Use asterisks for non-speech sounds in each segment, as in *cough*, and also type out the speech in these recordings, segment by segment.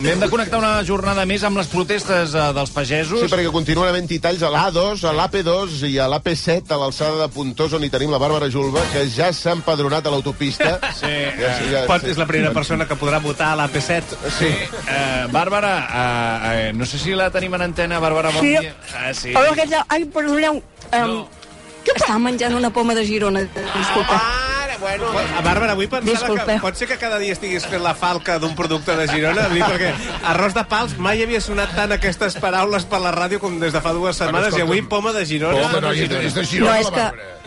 Hem de connectar una jornada més amb les protestes eh, dels pagesos. Sí, perquè continuen havent-hi talls a l'A2, a l'AP2 i a l'AP7, a l'alçada de Puntós, on hi tenim la Bàrbara Julba, que ja s'ha empadronat a *laughs* l'autopista. Sí, eh, Pot, és la primera persona que podrà votar a l'AP7. Sí, eh, Bàrbara, eh, eh, no sé si la tenim en antena, Bàrbara, bon Sí. dia. Ah, sí. Hola, què tal? Ai, perdoneu. Um, No. Què Estava menjant una poma de Girona, disculpa. Ah, Ara, bueno. A Bàrbara, avui pensava que Disculpeu. pot ser que cada dia estiguis fent la falca d'un producte de Girona, Vull dir, perquè arròs de pals mai havia sonat tant aquestes paraules per la ràdio com des de fa dues setmanes, i avui poma de Girona. Poma, no, i és de- és de Girona, No, és la que- Bàrbara.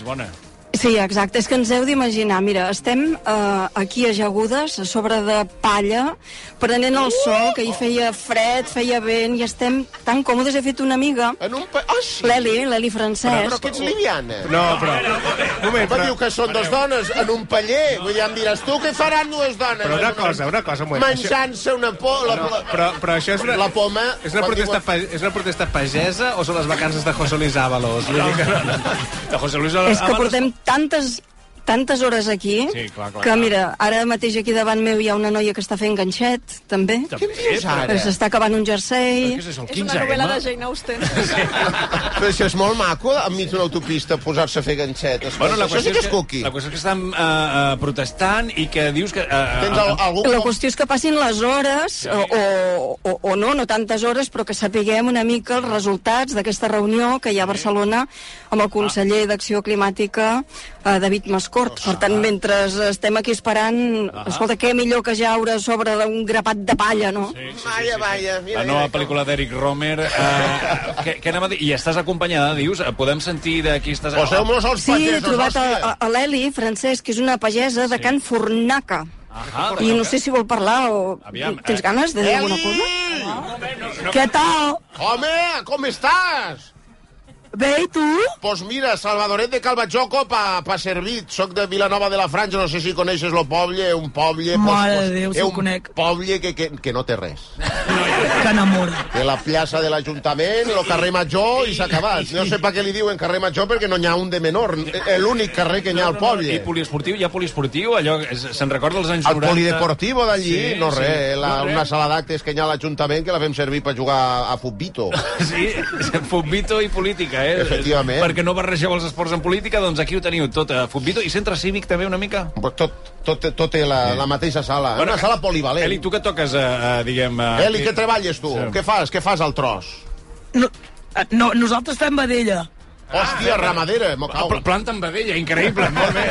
És bona. Sí, exacte, és que ens heu d'imaginar. Mira, estem eh, aquí ajagudes, a sobre de palla, prenent el sol, que hi feia fred, feia vent, i estem tan còmodes. He fet una amiga, En un pa... Oh, sí. l'Eli, l'Eli Però Francesc. que ets liviana. No. No, però... Un moment, Però diu però... que són dues dones en un paller. Vull dir, em diràs tu què faran dues dones? Però una cosa, una cosa, un moment. Això- Menjant-se una por... La, No, però, però això és una... La poma, És una, quan protesta, diuen- pa, és una protesta pagesa o són les vacances de José Luis Ábalos? Vull dir que- De José Luis És que Ábalos. portem tantes tantes hores aquí, Sí, clar, clar, que clar. mira, ara mateix aquí davant meu hi ha una noia que està fent ganxet, també. També, Que S'està acabant un jersei. Què és això, el És eh? una 15M? novel·la de Jane Austen. Però això és molt maco, enmig d'una autopista, posar-se a fer ganxet. Escolta, Bueno, la això qüestió, sí que és és que, cuqui. la qüestió és que estan uh, uh, protestant i que dius que... Uh, Tens el, algun... La qüestió és que passin les hores, o, o, o, o no, no tantes hores, però que sapiguem una mica els resultats d'aquesta reunió que hi ha a Barcelona amb Ah. el conseller d'Acció Climàtica, eh, David Mascort. Per tant, mentre estem aquí esperant, Ah. escolta, què millor que jaure sobre un grapat de palla, no? Vaja, vaja. La nova pel·lícula d'Eric Romer. *laughs* Uh, què, què anava a dir? I estàs acompanyada, dius? Eh, Podem sentir de qui estàs... Ah, Poseu-nos els Sí, he pagesos, trobat a, hòstia. a, a l'Eli Francesc, que és una pagesa de Can Fornaca. Ahà, I no sé si vol parlar o... Ah, Aviam, Tens eh, ganes de dir alguna cosa? Què tal? Home, com estàs? Bé, i tu? Pues mira, Salvadoret de Calbajoco pa, pa servit. Soc de Vilanova de la Franja, no sé si coneixes lo poble, un poble... Mare de Déu, si és ho un conec. poble que, que, que no té res. que enamora. De la plaça de l'Ajuntament, el carrer Major i s'ha acabat. No sé per què li diuen carrer Major perquè no n'hi ha un de menor. És l'únic carrer que n'hi ha al I poble. poliesportiu, hi ha poliesportiu, allò... que es- Se'n recorda dels anys El 90? polideportivo d'allí, Sí, no sí. res, la, No res. una sala d'actes que hi ha a l'Ajuntament que la fem servir per jugar a futbito. *laughs* Sí, futbito i política, eh? Efectivament. Perquè no barregeu els esports en política, doncs aquí ho teniu tot. eh, Futbito i centre cívic també una mica? Pues tot, tot, tot té la, la mateixa sala. Bueno, una sala polivalent. Eli, tu que toques, eh, eh, diguem... eh, Eli, què treballes tu? Sí. Què fas? Què fas al tros? No, eh, no, nosaltres fem vedella. Hòstia, ramadera, eh, m'ho Ah, cau. però planta amb vedella, increïble, *laughs* molt bé.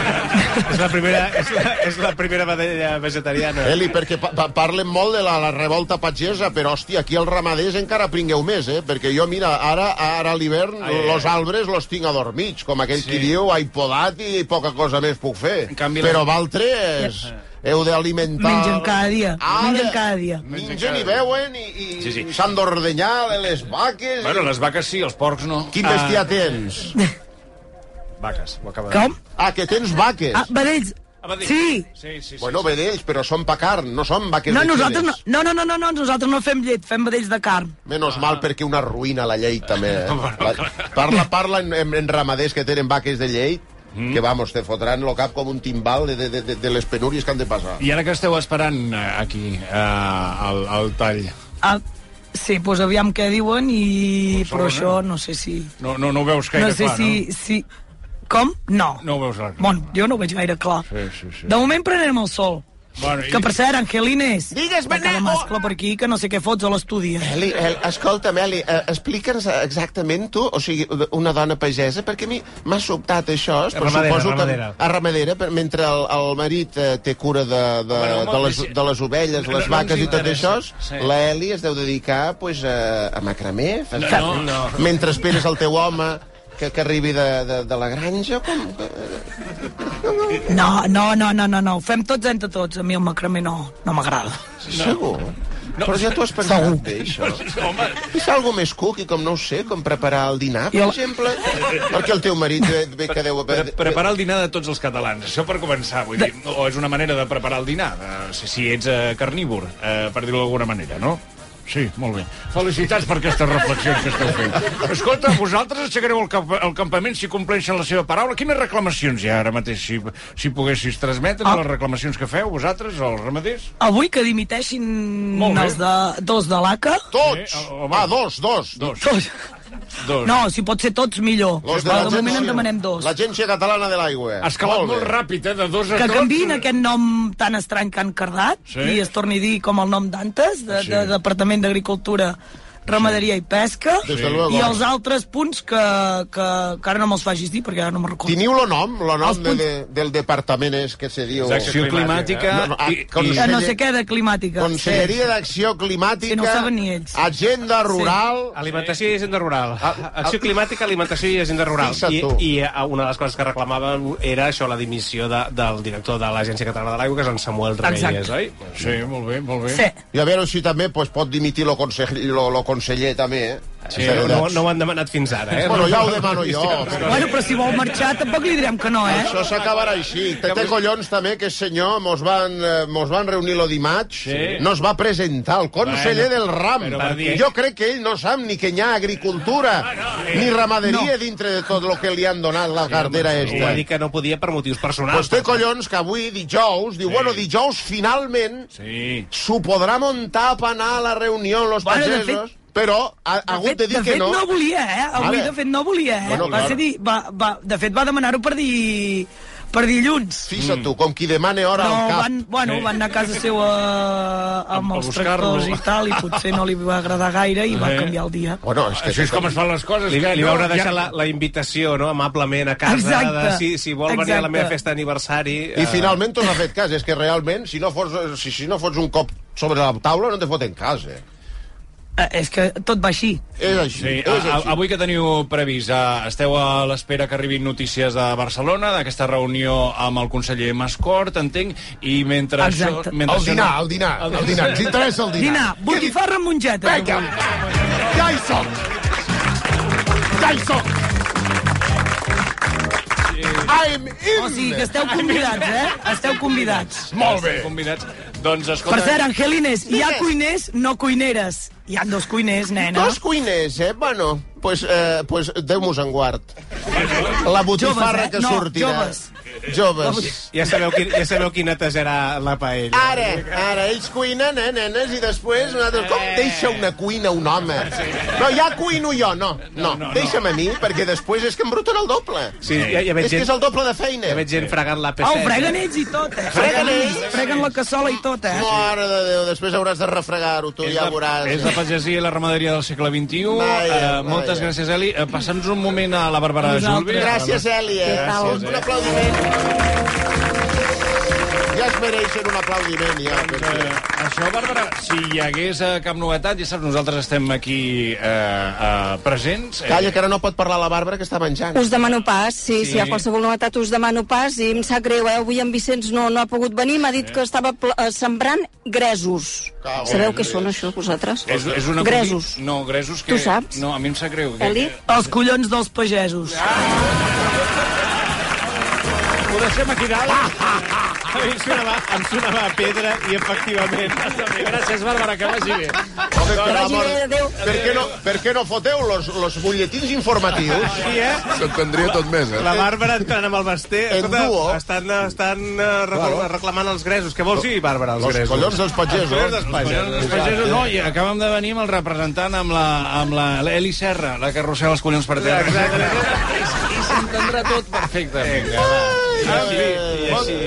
és la primera, és la, és la primera vedella Eh, vegetariana. Eli, perquè pa pa- parlen molt de la, la revolta pagesa, però, hòstia, aquí els ramaders encara pringueu més, eh? Perquè jo, mira, ara ara a l'hivern, Ai, los ai. arbres los tinc adormits, com aquell qui diu, ai, podat i poca cosa més puc fer. En canvi, la- però valtres heu d'alimentar... Ah, eh, Mengen cada dia, mengen cada dia. Mengen i beuen i i- Sí, sí. i s'han d'ordenyar les vaques... bueno, i... les vaques sí, els porcs no. Ah. Ah, Quin bestiar tens? Vaques, ho acaba de dir. Com? Ah, que tens vaques. Ah, vedells. Ah, va dir- Sí. Sí, sí, sí. Bueno, vedells, però són pa carn, no són vaques No, de nosaltres no, quiles. no, no, no, no, no, nosaltres no fem llet, fem vedells de carn. Menos mal perquè una ruïna la llei també. *laughs* Eh? La, parla, parla en, en, en ramaders que tenen vaques de llei, mm. que vamos, te fotran lo cap com un timbal de, de, de, de les penúries que han de passar. I ara que esteu esperant eh, aquí, eh, al, al tall, Ah, sí, doncs aviam què diuen Barcelona. i... Però això no sé si... no, no, no ho veus gaire No sé clar, si... si... Com? No. no? No ho veus gaire clar. Bon, jo no ho veig gaire clar. Sí, sí, sí. De moment prenem el sol. Bueno, i- oh! Que per cert, Angelines, Digues, va cada Benet, mascle per aquí que no sé què fots a l'estudi. eh? Eli, el, escolta'm, Eli, eh, explica'ns exactament tu, o sigui, una dona pagesa, perquè a mi m'ha sobtat això. però Ramadera, suposo ramadera. Que, a ramadera, per, mentre el, el marit eh, té cura de, de, Bueno, de, molt les, bé, sí. de les ovelles, No, les no, no vaques ens i tot interessa. això, Sí. la Eli es deu dedicar pues, a, a macramé, fas- No, no. mentre esperes el teu home que, que arribi de, de, de la granja, com... No, no, no, no, no, no, ho fem tots entre tots. A mi el macramé no, no m'agrada. Segur? No, però ja t'ho has pensat Segur. bé, això. Home, És algo més cuqui, com no ho sé, com preparar el dinar, per Jo- exemple? Perquè el teu marit eh, ve que deu haver... Pre preparar el dinar de tots els catalans, això per començar, vull dir, o és una manera de preparar el dinar, eh, si, si ets eh, carnívor, eh, per dir-ho d'alguna manera, no? Sí, molt bé. Felicitats per aquestes reflexions que esteu fent. Escolta, vosaltres aixecareu el, camp el campament si compleixen la seva paraula. Quines reclamacions hi ha ara mateix, si, si poguessis transmetre Ah. les reclamacions que feu vosaltres, els ramaders? Avui que dimiteixin Molt bé. els de, dos de l'ACA. Tots! Eh, home. Va, dos, dos. Dos. Tots. Dos. No, si pot ser tots, millor. Los Però de l'Agència- moment en demanem dos. L'Agència Catalana de l'Aigua. Has calat molt, bé. ràpid, eh? De dos a Que dos. canviïn aquest nom tan estrany que han cardat Sí. i es torni a dir com el nom d'antes, de, Sí. de Departament d'Agricultura, Ramaderia i Pesca, Des de luego. i els altres punts que, que, que ara no me'ls facis dir, perquè ara no me'n recordo. Teniu el nom, el nom Els de, punts- de, del departament és que se diu... Exacte. Acció climàtica... No, no, ah, i- com- i- Eh, no sé què, de climàtica. Conselleria d'Acció Climàtica... Que no ho saben ni ells. Agenda Rural... Alimentació i agenda rural. Ah, Acció climàtica, alimentació i agenda rural. Fixa't I, tu. I eh, una de les coses que reclamàvem era això, la dimissió de, del director de l'Agència Catalana de l'Aigua, que és en Samuel Reyes, Exacte. oi? Sí, molt bé, molt bé. Sí. I a veure si també pues, pot dimitir el consell, lo, lo conseller, també, eh? Sí, no, no ho han demanat fins ara, eh? Bueno, ja ho demano jo. Però... Bueno, però si vol marxar, tampoc li direm que no, eh? Això s'acabarà així. Té té collons també que, senyor, mos van, eh, mos van reunir lo dimarts, sí. no es va presentar el conseller Bueno, del RAM. però va dir- Jo crec que ell no sap ni que hi ha agricultura, ni ramaderia dintre de tot el que li han donat la cartera Ho va dir esta. que no podia per motius personals. Pues té collons que avui, dijous, diu, bueno, dijous finalment Sí. s'ho podrà muntar per anar a la reunió amb los Bueno, de fet- pagesos, però ha, ha hagut de dir de que fet, no. no volia, eh? Avui, Ara. de fet, no volia, eh? Bueno, va clar. ser dir, va, va, de fet, va demanar-ho per dir... per dilluns. Fixa't tu, com qui demana hora Però al cap. van, bueno, van anar a casa seu a, amb A els buscar-lo. tractors i tal, i potser no li va agradar gaire i va Eh. canviar el dia. Bueno, és que Així és com es fan les coses. Li, que li va haver no, ja- deixar la, la invitació, no?, amablement a casa, Exacte. de si, si vol venir a la Exacte. meva festa d'aniversari... eh, I finalment tu n'has fet cas. És que realment, si no, fos, si, si no fots un cop sobre la taula, no te foten cas, eh? Eh, és que tot va així. És així, Sí, és a, a, així. avui que teniu previst, a, esteu a l'espera que arribin notícies de Barcelona, d'aquesta reunió amb el conseller Mascort, entenc, i mentre Exacte. això... Mentre El això dinar, no- el dinar, el dinar. Ens interessa el dinar. Dinar, botifarra amb mongeta. Vinga, ja hi som. Ja hi som. I'm in. O sigui que esteu convidats, eh? Esteu convidats. Molt bé. Convidats. Doncs Per escolta... cert, Angelines, hi ha cuiners, no cuineres. Hi ha dos cuiners, nena. Dos cuiners, eh? Bueno, pues, eh, pues Déu-nos en guard. La botifarra Joves, eh? que No, sortirà. joves. Joves. Ja sabeu, qui, ja sabeu qui netejarà la paella. Ara, ara, ells cuinen, eh, nenes, i després nosaltres... Com deixa una cuina un home? No, ja cuino jo, no, no. Deixa'm a mi, perquè després és que em bruten el doble. Sí, ja, ja veig És que gent, és el doble de feina. ja veig gent fregant la Au, peceta. freguen ells i tot, eh? Freguen ells, ells. Freguen la cassola i tot, Ah, eh? Mare de Déu, després hauràs de refregar-ho, tu, ja veuràs. és la pagesia i la ramaderia del segle XXI. Vaja, eh, moltes vaja. gràcies, Eli. Eh, Passa'ns un moment a la Bàrbara de Julve. Nosaltres. Gràcies, Èlia. tal? Un aplaudiment. Ja es mereixen un aplaudiment, ja. Eh, perquè- això, Bàrbara, si hi hagués eh, cap novetat, ja saps, nosaltres estem aquí eh, eh, presents. Eh, Calla, que ara no pot parlar la Bàrbara, que està menjant. Us demano pas, sí, Sí. sí, si hi ha qualsevol novetat us demano pas i em sap greu, eh? avui en Vicenç no, no ha pogut venir, m'ha dit que estava pl- eh, sembrant gresos. Cago Sabeu en què Déu. són això, vosaltres? És, és una... Gresos. No, gresos que... Tu saps? No, a mi em sap greu. que- Eh, Eli? Els collons dels pagesos. Ho deixem aquí dalt. A mi em sonava, em sonava a pedra i, efectivament... Gràcies, Bàrbara, que vagi bé. Home, per Vagi amor- bé, adéu. Per què no, per què no foteu los, los butlletins informatius? Sí, eh? S'entendria tot més, eh? La Bàrbara entrant amb el basté. En duo. estan, estan eh, recla- reclamant els gresos. Què vols dir, Bàrbara, els Els gresos? collons dels Collons pagesos. dels pagesos. Els pagesos, no, i eh, acabem de venir amb el representant, amb la, amb la l'Eli Serra, la que arrossega els collons per terra. Exacte. I s'entendrà tot perfecte. Vinga. Ah, Ai, Sí, i així.